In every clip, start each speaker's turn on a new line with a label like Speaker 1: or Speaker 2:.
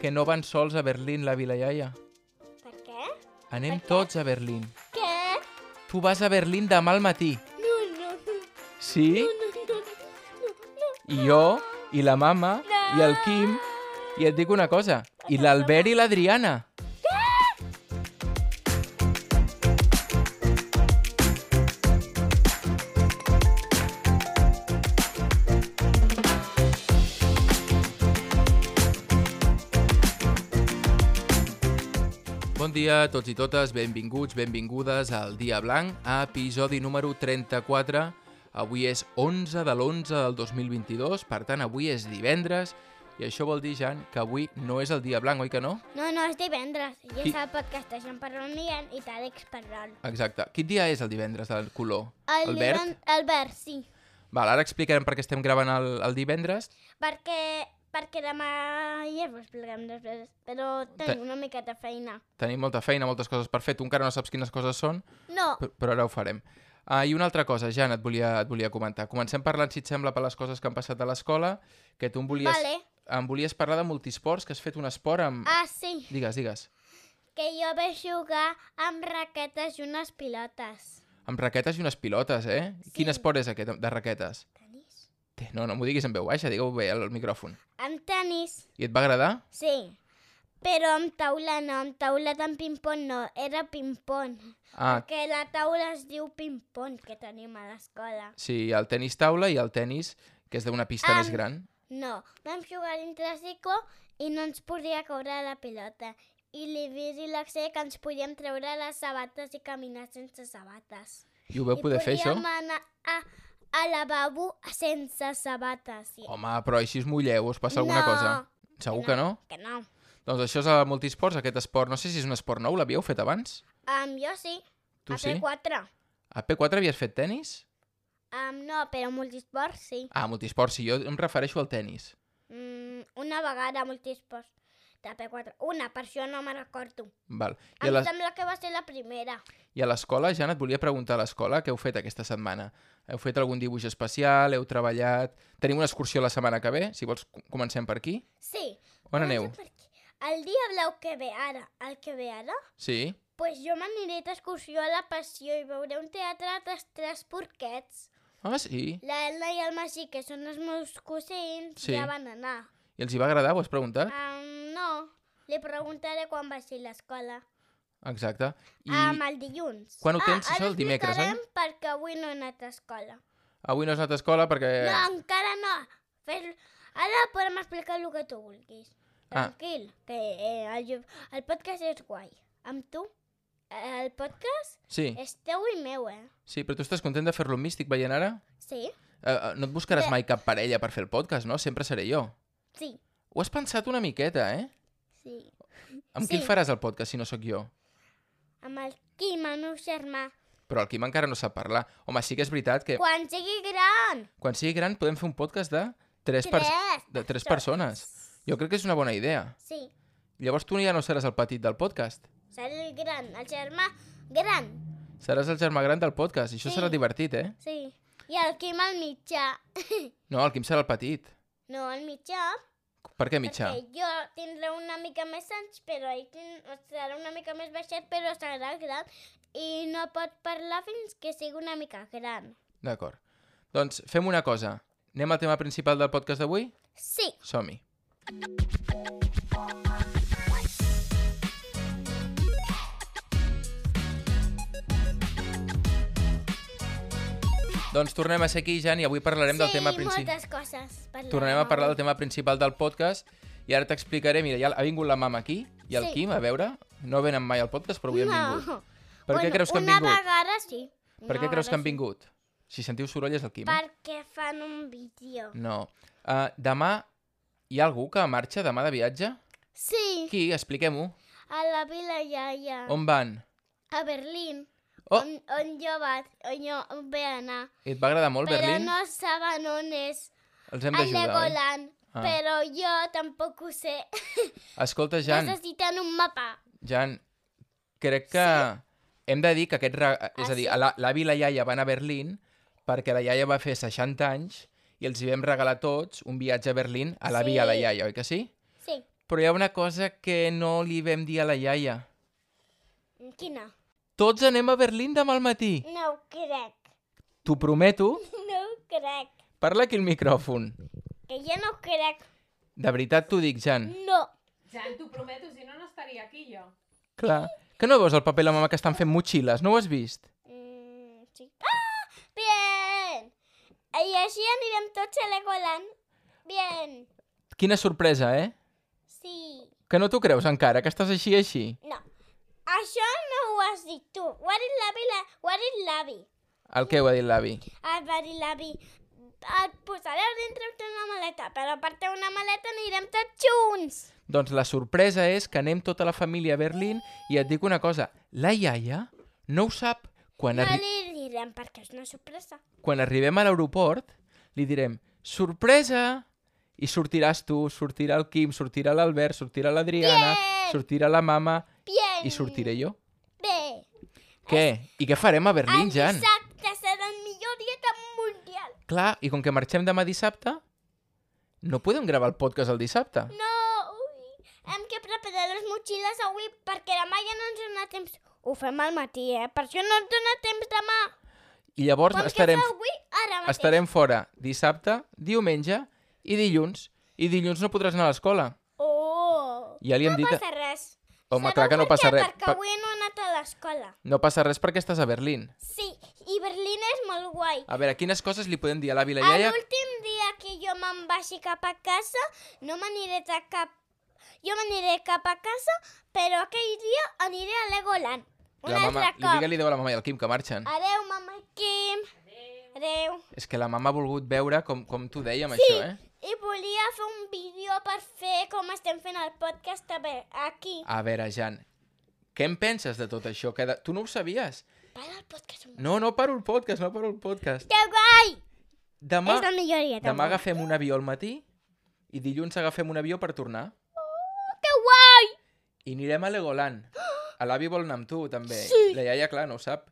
Speaker 1: que no van sols a Berlín, la Vila Iaia.
Speaker 2: Per què?
Speaker 1: Anem tots a Berlín.
Speaker 2: Què?
Speaker 1: Tu vas a Berlín demà al matí.
Speaker 2: No, no, no,
Speaker 1: Sí?
Speaker 2: no, no, no, no.
Speaker 1: I jo, i la mama, i el Quim, i et dic una cosa, i l'Albert i l'Adriana. Bon dia a tots i totes, benvinguts, benvingudes al Dia Blanc, a episodi número 34. Avui és 11 de l'11 del 2022, per tant avui és divendres, i això vol dir, Jan, que avui no és el Dia Blanc, oi que no?
Speaker 2: No, no, és divendres. I
Speaker 1: Qui-
Speaker 2: és el podcast de Jean Parrón Miguel i Tàdex Parrón.
Speaker 1: Exacte. Quin dia és el divendres del color? verd?
Speaker 2: divend- El verd, sí.
Speaker 1: Val, ara explicarem per què estem gravant el, el divendres.
Speaker 2: Perquè, perquè demà ja ho expliquem després, però
Speaker 1: Te-
Speaker 2: tenim una mica de feina.
Speaker 1: Tenim molta feina, moltes coses per fer, tu encara no saps quines coses són,
Speaker 2: No,
Speaker 1: però, però ara ho farem. Ah, I una altra cosa, Jan, et volia, et volia comentar. Comencem parlant, si et sembla, per les coses que han passat a l'escola, que tu em volies,
Speaker 2: vale.
Speaker 1: em volies parlar de multisports, que has fet un esport amb...
Speaker 2: Ah, sí,
Speaker 1: Digues, digues.
Speaker 2: que jo vaig jugar amb raquetes i unes pilotes.
Speaker 1: Amb raquetes i unes pilotes, eh?
Speaker 2: Sí.
Speaker 1: Quin esport és aquest, de raquetes?
Speaker 2: Tenis?
Speaker 1: Té, No, no m'ho diguis en veu baixa, digue-ho bé al micròfon.
Speaker 2: Amb tenis,
Speaker 1: I et va agradar?
Speaker 2: sí. Però amb taula no, amb taula amb ping-pong no, era ping-pong.
Speaker 1: Ah,
Speaker 2: Que la taula es diu ping-pong que tenim a l'escola.
Speaker 1: sí, el tennis taula i el tennis, que és d'una pista més
Speaker 2: Am-
Speaker 1: gran.
Speaker 2: No, vam jugar dintre Sico i no ens podia caure la pilota. I l'Ibis i l'Axé que ens podíem treure les sabates i caminar sense sabates.
Speaker 1: I ho veu
Speaker 2: I
Speaker 1: poder fer, això?
Speaker 2: podíem anar a, a lavabo sense sabates. Sí.
Speaker 1: Home, però així us mulleu, us passa alguna
Speaker 2: No,
Speaker 1: cosa. Segur que no?
Speaker 2: Que no.
Speaker 1: Doncs això és el multisports, aquest esport. No sé si és un esport nou, l'havíeu fet abans?
Speaker 2: Um, jo sí,
Speaker 1: Tu
Speaker 2: a
Speaker 1: sí?
Speaker 2: P4.
Speaker 1: A P4 havies fet tennis?
Speaker 2: Um, no, però multisport sí.
Speaker 1: Ah, multisport, sí, jo em refereixo al tennis.
Speaker 2: Mm, una vegada multisport de P4. Una, per això no me'n recordo.
Speaker 1: Val. I
Speaker 2: Em
Speaker 1: a la-
Speaker 2: sembla que va ser la primera.
Speaker 1: I a l'escola, Jan, et volia preguntar a l'escola què heu fet aquesta setmana. Heu fet algun dibuix especial? Heu treballat? Tenim una excursió la setmana que ve? Si vols, com- comencem per aquí.
Speaker 2: Sí.
Speaker 1: On
Speaker 2: no
Speaker 1: aneu?
Speaker 2: sé per què. El dia blau que ve ara, el que ve ara,
Speaker 1: Sí?
Speaker 2: pues jo m'aniré d'excursió a la Passió i veuré un teatre dels tres porquets.
Speaker 1: Ah, sí?
Speaker 2: L'Elna i el Magí, que són els meus cosins,
Speaker 1: Sí.
Speaker 2: ja van anar.
Speaker 1: I els hi va agradar? Ho has preguntat?
Speaker 2: Um, no, li preguntaré quan va ser l'escola. Ah.
Speaker 1: Exacte.
Speaker 2: I...
Speaker 1: I
Speaker 2: Um, el dilluns.
Speaker 1: Quan ho tens?
Speaker 2: ah,
Speaker 1: Això el dimecres, oi?
Speaker 2: oi? perquè avui no he anat a escola.
Speaker 1: avui no has anat a escola perquè...
Speaker 2: No, encara no. Fes... Ara podem explicar el que tu vulguis.
Speaker 1: Ah.
Speaker 2: Tranquil, que eh, el, jo- el podcast és guai. Amb tu, eh, el podcast
Speaker 1: Sí,
Speaker 2: és teu i meu, eh?
Speaker 1: sí, però tu estàs content de fer-lo amb mi? Estic veient ara?
Speaker 2: Sí?
Speaker 1: Eh, eh, no et buscaràs
Speaker 2: Bé.
Speaker 1: mai cap parella per fer el podcast, no? Sempre seré jo.
Speaker 2: Sí,
Speaker 1: Ho has pensat una miqueta, eh?
Speaker 2: sí.
Speaker 1: Amb
Speaker 2: Sí.
Speaker 1: qui el faràs el podcast si no sóc jo?
Speaker 2: Amb el Quim, el meu germà.
Speaker 1: Però el Quim encara no sap parlar. Home, sí que és veritat que
Speaker 2: Quan sigui gran!
Speaker 1: quan sigui gran podem fer un podcast de tres, per...
Speaker 2: Tres!
Speaker 1: de tres persones. Jo crec que és una bona idea.
Speaker 2: Sí,
Speaker 1: Llavors tu ja no seràs el petit del podcast.
Speaker 2: seré el gran, el germà gran.
Speaker 1: Seràs el germà gran del podcast. Això
Speaker 2: Sí.
Speaker 1: serà divertit, eh?
Speaker 2: Sí. I el Quim al mitjà.
Speaker 1: No, el Quim serà el petit.
Speaker 2: No, al mitjà,
Speaker 1: Per què mitjà?
Speaker 2: Perquè jo tindré una mica més anys, però ell tin- serà una mica més baixet, però serà gran i no pot parlar fins que sigui una mica gran.
Speaker 1: D'acord. Doncs fem una cosa. Anem al tema principal del podcast d'avui?
Speaker 2: Sí,
Speaker 1: Som-hi. Doncs tornem a ser aquí, Jan, i avui parlarem del
Speaker 2: sí
Speaker 1: tema principal.
Speaker 2: moltes coses. parlarem
Speaker 1: Tornarem a parlar del
Speaker 2: avui.
Speaker 1: tema principal del podcast i ara t'explicaré, mira, ja ha vingut la mama aquí i el
Speaker 2: Sí.
Speaker 1: Quim, a veure, no venen mai al podcast, però avui han vingut.
Speaker 2: No.
Speaker 1: Per què
Speaker 2: bueno,
Speaker 1: creus que han
Speaker 2: una
Speaker 1: vingut?
Speaker 2: vegada sí.
Speaker 1: Per
Speaker 2: una
Speaker 1: què creus que han
Speaker 2: vegada
Speaker 1: vingut? Si sentiu soroll és el Quim.
Speaker 2: sí.
Speaker 1: eh?
Speaker 2: Perquè fan un vídeo.
Speaker 1: No. Uh, demà hi ha algú que marxa demà de viatge?
Speaker 2: Sí,
Speaker 1: Qui? Expliquem-ho.
Speaker 2: a la Vila Iaia,
Speaker 1: On van?
Speaker 2: a Berlín,
Speaker 1: Oh,
Speaker 2: on, on jo vaig, on jo vaig anar.
Speaker 1: et va agradar molt
Speaker 2: Però
Speaker 1: Berlín?
Speaker 2: no saben on és.
Speaker 1: Els hem
Speaker 2: al
Speaker 1: d'ajudar, oi?
Speaker 2: Legoland,
Speaker 1: Ah.
Speaker 2: però jo tampoc ho sé.
Speaker 1: Escolta, Jan,
Speaker 2: Jan. Necessiten un mapa.
Speaker 1: Jan, crec que hem de dir que aquest... Re... És a dir,
Speaker 2: Ah, sí?
Speaker 1: la- l'avi i la iaia van a Berlín perquè la iaia va fer 60 anys i els hi vam regalar tots un viatge a Berlín a l'avi i a la
Speaker 2: Sí.
Speaker 1: iaia, oi que sí?
Speaker 2: Sí,
Speaker 1: Però hi ha una cosa que no li vam dir a la iaia.
Speaker 2: Quina?
Speaker 1: Tots anem a Berlín demà al matí.
Speaker 2: No ho crec.
Speaker 1: T'ho prometo.
Speaker 2: No ho crec.
Speaker 1: Parla aquí el micròfon.
Speaker 2: Que jo no ho crec.
Speaker 1: De veritat t'ho dic, Jan.
Speaker 2: No.
Speaker 3: Jan, t'ho prometo, si no, no estaria aquí jo.
Speaker 1: Clar. Que no veus el paper i la mama que estan fent motxilles? No ho has vist?
Speaker 2: Mm, sí. Ah! Bien! I així anirem tots a Legoland. Bien.
Speaker 1: Quina sorpresa, eh?
Speaker 2: Sí.
Speaker 1: Que no t'ho creus encara, que estàs així, així.
Speaker 2: No. Això no ho has dit tu. Ho ha dit l'avi, la... ho ha dit l'avi.
Speaker 1: El que ho ha dit l'avi.
Speaker 2: El va dir l'avi. Et posareu dintre una maleta, però per té una maleta anirem tots junts.
Speaker 1: Doncs la sorpresa és que anem tota la família a Berlín i et dic una cosa, la iaia no ho sap. Quan,
Speaker 2: No
Speaker 1: arri
Speaker 2: li direm perquè és una sorpresa.
Speaker 1: quan arribem a l'aeroport, li direm sorpresa! I sortiràs tu, sortirà el Quim, sortirà l'Albert, sortirà l'Adriana,
Speaker 2: Bien!
Speaker 1: sortirà la mama
Speaker 2: Bien.
Speaker 1: i sortiré jo.
Speaker 2: Bé.
Speaker 1: Què? I què farem a Berlín,
Speaker 2: El
Speaker 1: Jan?
Speaker 2: dissabte serà el millor dia del mundial.
Speaker 1: Clar, i com que marxem demà dissabte, no podem gravar el podcast el dissabte.
Speaker 2: No, ui, hem que preparar les motxilles avui perquè demà ja no ens dona temps. Ho fem al matí, eh? Per això no ens dona temps demà.
Speaker 1: I llavors
Speaker 2: Com
Speaker 1: estarem,
Speaker 2: que fa avui, ara mateix.
Speaker 1: estarem fora dissabte, diumenge i dilluns. I dilluns no podràs anar a l'escola.
Speaker 2: Oh,
Speaker 1: Ja li hem
Speaker 2: no
Speaker 1: dit...
Speaker 2: passa res.
Speaker 1: Home,
Speaker 2: Sabeu
Speaker 1: clar que no
Speaker 2: per
Speaker 1: passa
Speaker 2: què?
Speaker 1: res.
Speaker 2: Perquè
Speaker 1: Per-
Speaker 2: avui no he anat a l'escola.
Speaker 1: No passa res perquè estàs a Berlín.
Speaker 2: Sí, i Berlín és molt guai.
Speaker 1: A veure, quines coses li podem dir a l'avi i la
Speaker 2: A
Speaker 1: iaia?
Speaker 2: l'últim dia que jo me'n vagi cap a casa, no m'aniré de cap... Jo m'aniré cap a casa, però aquell dia aniré a Legoland. Un
Speaker 1: La mama,
Speaker 2: altre
Speaker 1: I
Speaker 2: cop. Ah.
Speaker 1: digue-li adéu a la mama i al Quim que marxen.
Speaker 2: Adeu, mama i Quim. Adeu.
Speaker 1: És que la mama ha volgut veure com, com t'ho deia amb sí. això, eh?
Speaker 2: I volia fer un vídeo per fer com estem fent el podcast a ve- aquí.
Speaker 1: A veure, Jan, què en penses de tot això? Que de... Tu no ho sabies?
Speaker 2: Para el podcast un moment.
Speaker 1: No, no paro el podcast, no paro el podcast.
Speaker 2: Que guai!
Speaker 1: Demà,
Speaker 2: És la millor dia.
Speaker 1: demà
Speaker 2: del món.
Speaker 1: agafem un avió al matí i dilluns agafem un avió per tornar.
Speaker 2: Que guai!
Speaker 1: I anirem a Legoland. A l'avi vol anar amb tu, també. Sí. La iaia, clar, no ho sap.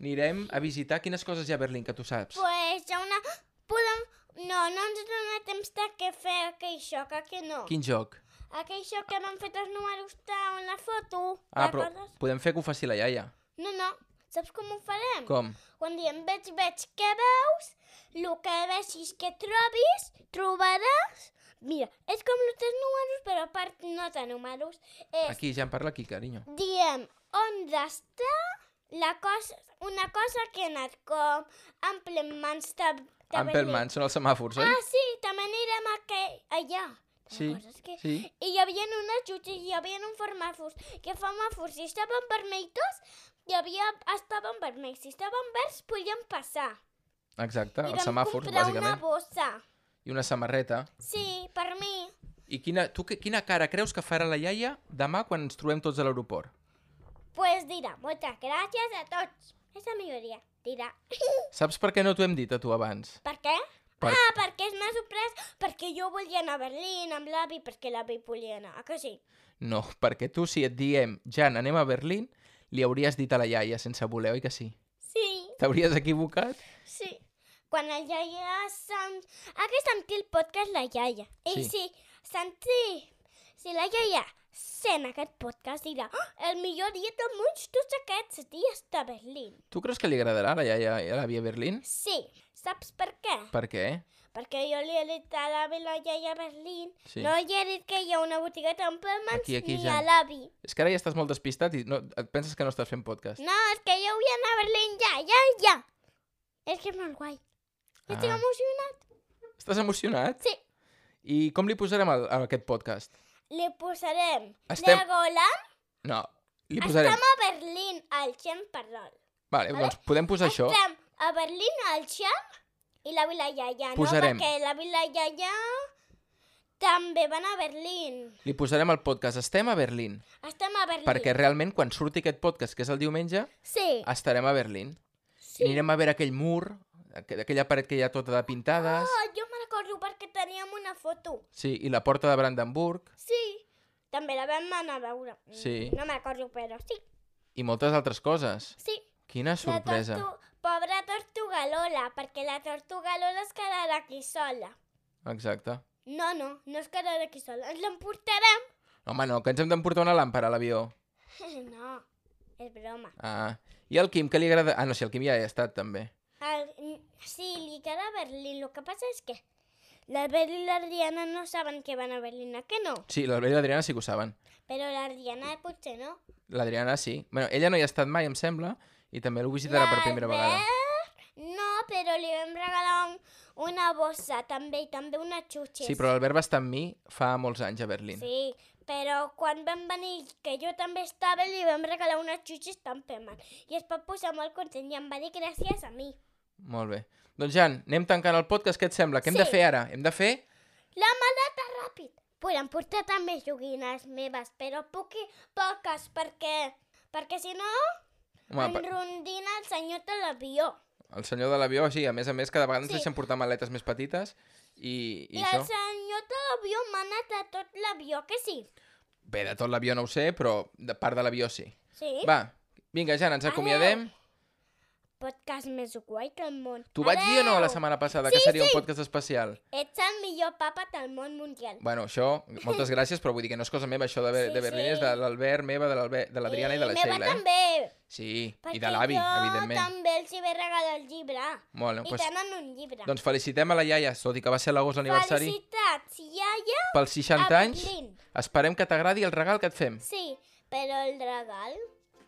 Speaker 1: Anirem a visitar quines coses hi ha a Berlín, que tu saps.
Speaker 2: Pues hi ha una... Podem... No, no ens dona temps de què fer aquell xoc, eh, que no.
Speaker 1: Quin joc?
Speaker 2: Aquell xoc que m'han fet els números en la foto.
Speaker 1: Ah, però
Speaker 2: recordes?
Speaker 1: podem fer que ho faci la iaia.
Speaker 2: No, no. Saps com ho farem?
Speaker 1: Com?
Speaker 2: Quan diem veig, veig, què veus? Lo que vegis que trobis, trobaràs... Mira, és com els tres números, però a part no té números. És,
Speaker 1: Aquí, ja en parla aquí, carinyo.
Speaker 2: diem, on està la cosa, una cosa que ha anat com Amplemans de, de
Speaker 1: Ampelman, són els semàfors, oi?
Speaker 2: Ah, sí, també anirem a que, allà.
Speaker 1: Sí,
Speaker 2: Recordes que...
Speaker 1: sí.
Speaker 2: I hi havia unes jutges, hi havia un farmàfors, que farmàfors, si estaven vermells, hi havia, estaven vermells, si estaven verds, podien passar.
Speaker 1: Exacte,
Speaker 2: I
Speaker 1: Ah, els
Speaker 2: vam
Speaker 1: semàfors,
Speaker 2: comprar una
Speaker 1: bàsicament.
Speaker 2: bossa.
Speaker 1: I una samarreta.
Speaker 2: Sí, per mi.
Speaker 1: I quina, tu, que- quina cara creus que farà la iaia demà quan ens trobem tots a l'aeroport?
Speaker 2: Pues dirà, moltes gràcies a tots. És la millor dia. Dirà.
Speaker 1: Saps per què no t'ho hem dit a tu abans?
Speaker 2: per què?
Speaker 1: Per-
Speaker 2: Ah, perquè és una sorpresa, perquè jo volia anar a Berlín amb l'avi, perquè l'avi volia anar, a que sí?
Speaker 1: No, perquè tu si et diem, Jan, anem a Berlín, li hauries dit a la iaia sense voler, oi que sí?
Speaker 2: Sí,
Speaker 1: T'hauries equivocat?
Speaker 2: sí. Quan la iaia sent... Ha que sentir el podcast la iaia. I
Speaker 1: Sí.
Speaker 2: sí. si sentir... Si la iaia sent aquest podcast dirà oh, el millor dia del món tots aquests dies de Berlín.
Speaker 1: Tu creus que li agradarà a la iaia i a l'àvia Berlín?
Speaker 2: Sí, saps per què?
Speaker 1: Per què?
Speaker 2: Perquè jo li he dit a l'avi la iaia a Berlín.
Speaker 1: Sí.
Speaker 2: No li he dit que hi ha una botiga tan Pelmans
Speaker 1: Aquí, aquí,
Speaker 2: ni
Speaker 1: ja.
Speaker 2: a l'avi.
Speaker 1: És que ara ja estàs molt despistat i no, et penses que no estàs fent podcast.
Speaker 2: No, és que jo vull anar a Berlín ja, ja, ja. És que és molt guai. Ah. Estic
Speaker 1: Ah.
Speaker 2: emocionat.
Speaker 1: Estàs emocionat?
Speaker 2: Sí.
Speaker 1: I com li posarem a, a aquest podcast?
Speaker 2: Li posarem
Speaker 1: Estem-
Speaker 2: Estem... Legoland.
Speaker 1: No, li posarem...
Speaker 2: Estem a Berlín al Xen Parrol.
Speaker 1: Vale, doncs podem posar això.
Speaker 2: Estem a Berlín al Xen i la Vila Iaia,
Speaker 1: Posarem.
Speaker 2: no? Perquè la Vila Iaia també van a Berlín.
Speaker 1: Li posarem al podcast Estem a Berlín,
Speaker 2: Estem a Berlín.
Speaker 1: perquè realment quan surti aquest podcast, que és el diumenge,
Speaker 2: Sí.
Speaker 1: estarem a Berlín.
Speaker 2: Sí.
Speaker 1: Anirem a veure aquell mur, aqu- aquella paret que hi ha tota de pintades,
Speaker 2: Oh, jo me'n recordo perquè teníem una foto.
Speaker 1: sí, i la porta de Brandenburg,
Speaker 2: Sí, també la vam anar a veure. Mm,
Speaker 1: Sí.
Speaker 2: No me'n recordo, però sí,
Speaker 1: i moltes altres coses.
Speaker 2: sí.
Speaker 1: Quina sorpresa.
Speaker 2: La tortu... Pobra tortuga Lola, perquè la tortuga Lola es quedarà aquí sola.
Speaker 1: Exacte.
Speaker 2: No, no, no es quedarà aquí sola. Ens l'emportarem
Speaker 1: Home, no, que ens hem d'emportar una làmpara a l'avió.
Speaker 2: No, és broma.
Speaker 1: Ah. I al Quim, que li agrada... Ah, no, si el Quim ja hi ha estat, també.
Speaker 2: El, sí, li queda a Berlín. Lo que passa és que l'Albert i la Diana no saben que van a Berlín, ¿a que no?
Speaker 1: Sí, l'Albert i l'Adriana sí que ho saben.
Speaker 2: Però la Diana potser no.
Speaker 1: L'Adriana sí. Bueno, ella no hi ha estat mai, em sembla, i també l'ho visitarà per primera vegada.
Speaker 2: L'Albert No, però li vam regalar un, una bossa també i també una xutxa.
Speaker 1: Sí, però l'Albert va estar amb mi fa molts anys a Berlín.
Speaker 2: Sí, però quan vam venir, que jo també estava, li vam regalar unes xutxes tan pemant. I es va posar molt content i em va dir gràcies a mi.
Speaker 1: Molt bé. Doncs Jan, anem tancant el podcast, què et sembla? Què hem de
Speaker 2: Sí.
Speaker 1: fer ara? Hem de fer...
Speaker 2: La maleta ràpid! Podem portar també joguines meves, però poqui, poques, perquè, perquè si no,
Speaker 1: Home, per-
Speaker 2: enrondina el senyor de l'avió.
Speaker 1: el senyor de l'avió, sí, a més a més, cada vegada ens
Speaker 2: Sí.
Speaker 1: deixen portar maletes més petites i, i,
Speaker 2: I,
Speaker 1: això...
Speaker 2: el senyor de l'avió mana de tot l'avió, que sí?
Speaker 1: Bé, de tot l'avió no ho sé, però de part de l'avió sí.
Speaker 2: Sí?
Speaker 1: Va, vinga, Jan, ens
Speaker 2: Adeu.
Speaker 1: acomiadem.
Speaker 2: Podcast més guai del món.
Speaker 1: T'ho vaig dir o no la setmana passada, que
Speaker 2: Sí,
Speaker 1: seria
Speaker 2: sí.
Speaker 1: un podcast especial?
Speaker 2: Ets el millor papa del món mundial.
Speaker 1: Bueno, això, moltes gràcies, però vull dir que no és cosa meva, això de, Ber
Speaker 2: Sí,
Speaker 1: de Berlín
Speaker 2: sí.
Speaker 1: és de l'Albert, meva, de l'Albe- de l'Adriana i, de la
Speaker 2: meva
Speaker 1: Sheila, eh?
Speaker 2: també.
Speaker 1: Sí, i
Speaker 2: perquè
Speaker 1: de l'avi,
Speaker 2: jo
Speaker 1: evidentment.
Speaker 2: també els hi vaig regalar el llibre.
Speaker 1: Molt bé,
Speaker 2: I
Speaker 1: doncs,
Speaker 2: tenen un llibre.
Speaker 1: doncs felicitem a la iaia, tot i que va ser a l'agost l'aniversari,
Speaker 2: Felicitats, iaia.
Speaker 1: pels 60
Speaker 2: a
Speaker 1: anys.
Speaker 2: Berlín.
Speaker 1: Esperem que t'agradi el regal que et fem.
Speaker 2: Sí, però el regal...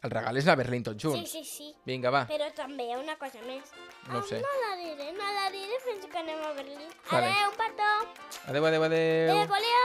Speaker 1: El regal és la Berlín tot
Speaker 2: Sí,
Speaker 1: junts.
Speaker 2: sí, sí.
Speaker 1: Vinga, va.
Speaker 2: Però també hi ha una cosa més.
Speaker 1: No ho sé.
Speaker 2: No la diré, no la diré fins que anem a Berlín.
Speaker 1: Vale.
Speaker 2: Adeu, petó.
Speaker 1: Adeu, adeu, adeu.
Speaker 2: Adeu, adeu.